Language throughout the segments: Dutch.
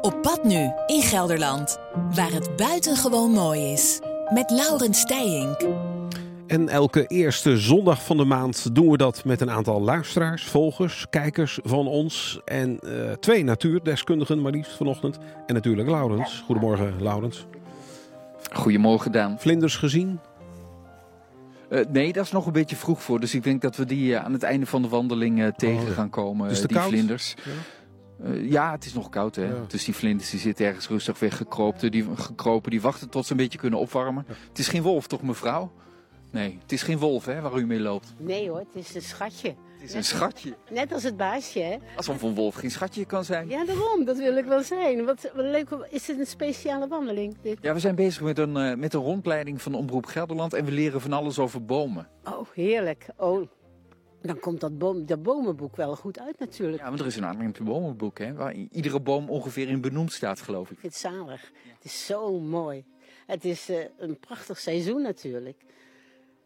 Op pad nu in Gelderland, waar het buitengewoon mooi is. Met Laurent Steijink. En elke eerste zondag van de maand doen we dat met een aantal luisteraars, volgers, kijkers van ons. En eh, twee natuurdeskundigen maar liefst vanochtend. En natuurlijk Laurens. Goedemorgen Laurens. Goedemorgen, Daan. Vlinders gezien? Eh, nee, daar is nog een beetje vroeg voor. Dus ik denk dat we die eh, aan het einde van de wandeling eh, tegen Oh, ja. Dus gaan komen. Is het eh, te die koud? vlinders. Ja. Eh, ja, het is nog koud, hè. Ja. Dus die vlinders die zitten ergens rustig weggekropen. Die, gekropen, die wachten tot ze een beetje kunnen opwarmen. Het is geen wolf, toch, mevrouw? Nee, het is geen wolf, hè, waar u mee loopt. Nee hoor, het is een schatje. Het is een schatje. Net als het baasje, hè? Alsof een wolf geen schatje kan zijn. Ja, daarom, dat wil ik wel zijn. Wat, wat leuk, is dit een speciale wandeling? Dit? Ja, we zijn bezig met een, eh, met een rondleiding van Omroep Gelderland. En we leren van alles over bomen. Oh, heerlijk. Oh, dan komt dat, boom, dat bomenboek wel goed uit natuurlijk. Ja, want er is een aantal bomenboek, hè. Waar i- iedere boom ongeveer in benoemd staat, geloof ik. Ik vind het zalig. Het is zo mooi. Het is eh, een prachtig seizoen natuurlijk.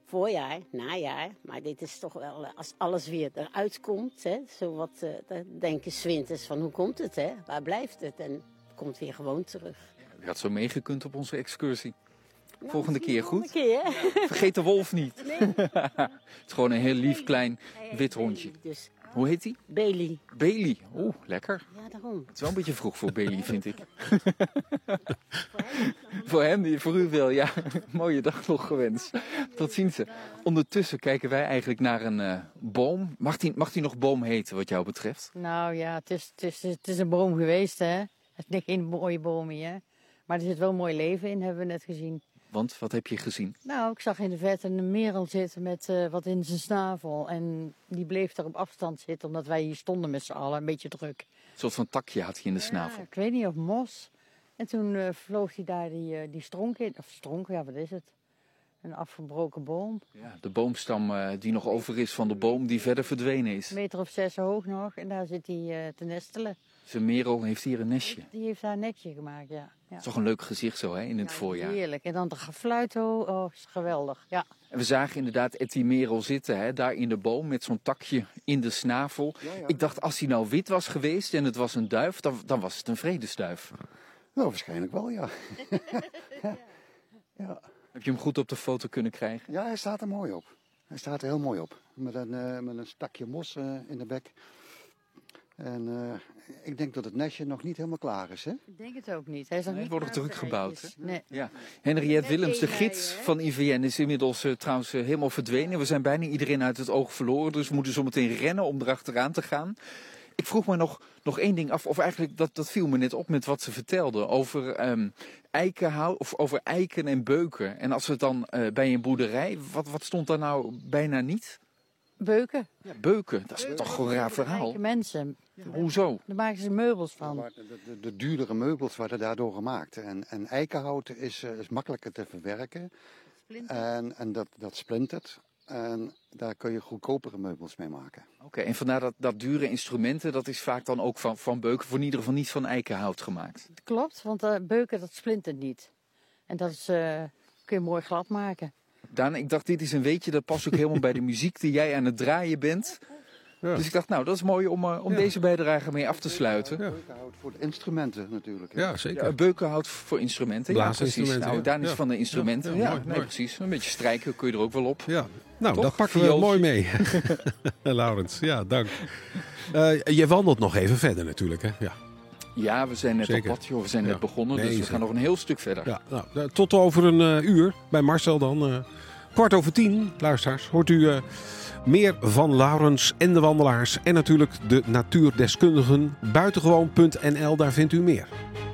Voorjaar, najaar, maar dit is toch wel, eh, als alles weer eruit komt, hè, zo wat, eh, dan denken zwinters van hoe komt het, hè? Waar blijft het? En het komt weer gewoon terug. U had zo meegekund op onze excursie. Volgende keer Volgende goed. keer, hè? Vergeet de wolf niet. Het is gewoon een heel lief klein wit hondje. Dus Hoe heet die? Bailey. Bailey. Oeh, lekker. Het Ja, daarom. is wel een beetje vroeg voor Bailey, vind ik. voor hem, voor u wel. Ja, mooie dag nog gewenst. Tot ziens. Ondertussen kijken wij eigenlijk naar een eh, boom. Mag die, mag die nog boom heten, wat jou betreft? Nou ja, het is, het is, het is een boom geweest, hè. Het is geen mooie boom hier, hè. Maar er zit wel mooi leven in, hebben we net gezien. Want wat heb je gezien? Nou, ik zag in de verte een merel zitten met eh, wat in zijn snavel. En die bleef daar op afstand zitten, omdat wij hier stonden met z'n allen, een beetje druk. Een soort van takje had hij in de snavel. Ja, ik weet niet, of mos. En toen eh, vloog hij daar die, eh, die stronk in. Of stronk, ja, wat is het? Een afgebroken boom. Ja, de boomstam eh, die nog over is van de boom die verder verdwenen is. Een meter of zes hoog nog. En daar zit hij eh, te nestelen. Zijn merel heeft hier een nestje. Die heeft haar nekje gemaakt, ja. ja. Het is toch een leuk gezicht zo, hè, in het Ja, voorjaar. Heerlijk. En dan de gefluit, oh, oh, is geweldig. Ja. En we zagen inderdaad Etty Merel zitten, hè, daar in de boom met zo'n takje in de snavel. Ik dacht, als hij nou wit was geweest en het was een duif, dan, dan was het een vredesduif. Nou, waarschijnlijk wel, ja. ja. Heb je hem goed op de foto kunnen krijgen? Ja, hij staat er mooi op. Hij staat er heel mooi op. Met een, eh, met een stakje mos eh, in de bek. En eh, ik denk dat het nestje nog niet helemaal klaar is, hè? Ik denk het ook niet. Hij is nog Nee, niet wordt nog druk uitgereid, gebouwd, dus- Nee. Ja. Henriette Willems, de één gids bij, hè? van IVN, is inmiddels eh, trouwens eh, helemaal verdwenen. We zijn bijna iedereen uit het oog verloren, dus we moeten zometeen rennen om erachteraan te gaan. Ik vroeg me nog, nog één ding af, of eigenlijk dat, dat viel me net op met wat ze vertelde over, ehm eikenhout, of over eiken en beuken. En als we het dan eh, bij een boerderij, wat, wat stond daar nou bijna niet? Beuken. Beuken, dat is toch een raar verhaal. Rijke mensen. Hoezo? Daar maken ze meubels van. Maar De, de, de duurdere meubels werden daardoor gemaakt. En, en eikenhout is, eh, is makkelijker te verwerken. En, en dat, dat splintert. En daar kun je goedkopere meubels mee maken. Oké, en vandaar dat, dat dure instrumenten, dat is vaak dan ook van, van beuken, voor in ieder geval niet van eikenhout gemaakt. Dat klopt, want eh, beuken dat splintert niet. En dat is, eh, kun je mooi glad maken. Daan, ik dacht, dit is een weetje, dat past ook helemaal bij de muziek die jij aan het draaien bent. Ja. Dus ik dacht, nou, dat is mooi om, eh, om deze bijdrage mee af te sluiten. Ja. Eikenhout voor de instrumenten natuurlijk. hè. Ja, Ja, zeker. beukenhout voor instrumenten. Ja, precies. Blaasinstrumenten, Nou, ja. Daan is Ja. van de instrumenten. Ja, Ja, ja, mooi, nee, mooi. precies. Een beetje strijken kun je er ook wel op. Ja. Nou, Toch? dat pakken we Viooltje. mooi mee. Laurens, ja, dank. Eh, je wandelt nog even verder natuurlijk, hè? Ja. Ja, we zijn net Zeker. op pad, joh. We zijn Ja. net begonnen, Nee, dus we zeker. gaan nog een heel stuk verder. Ja, nou, eh, tot over een eh, uur bij Marcel dan. eh, kwart over tien, luisteraars, hoort u eh, meer van Laurens en de Wandelaars. En natuurlijk de natuurdeskundigen buitengewoon.nl, daar vindt u meer.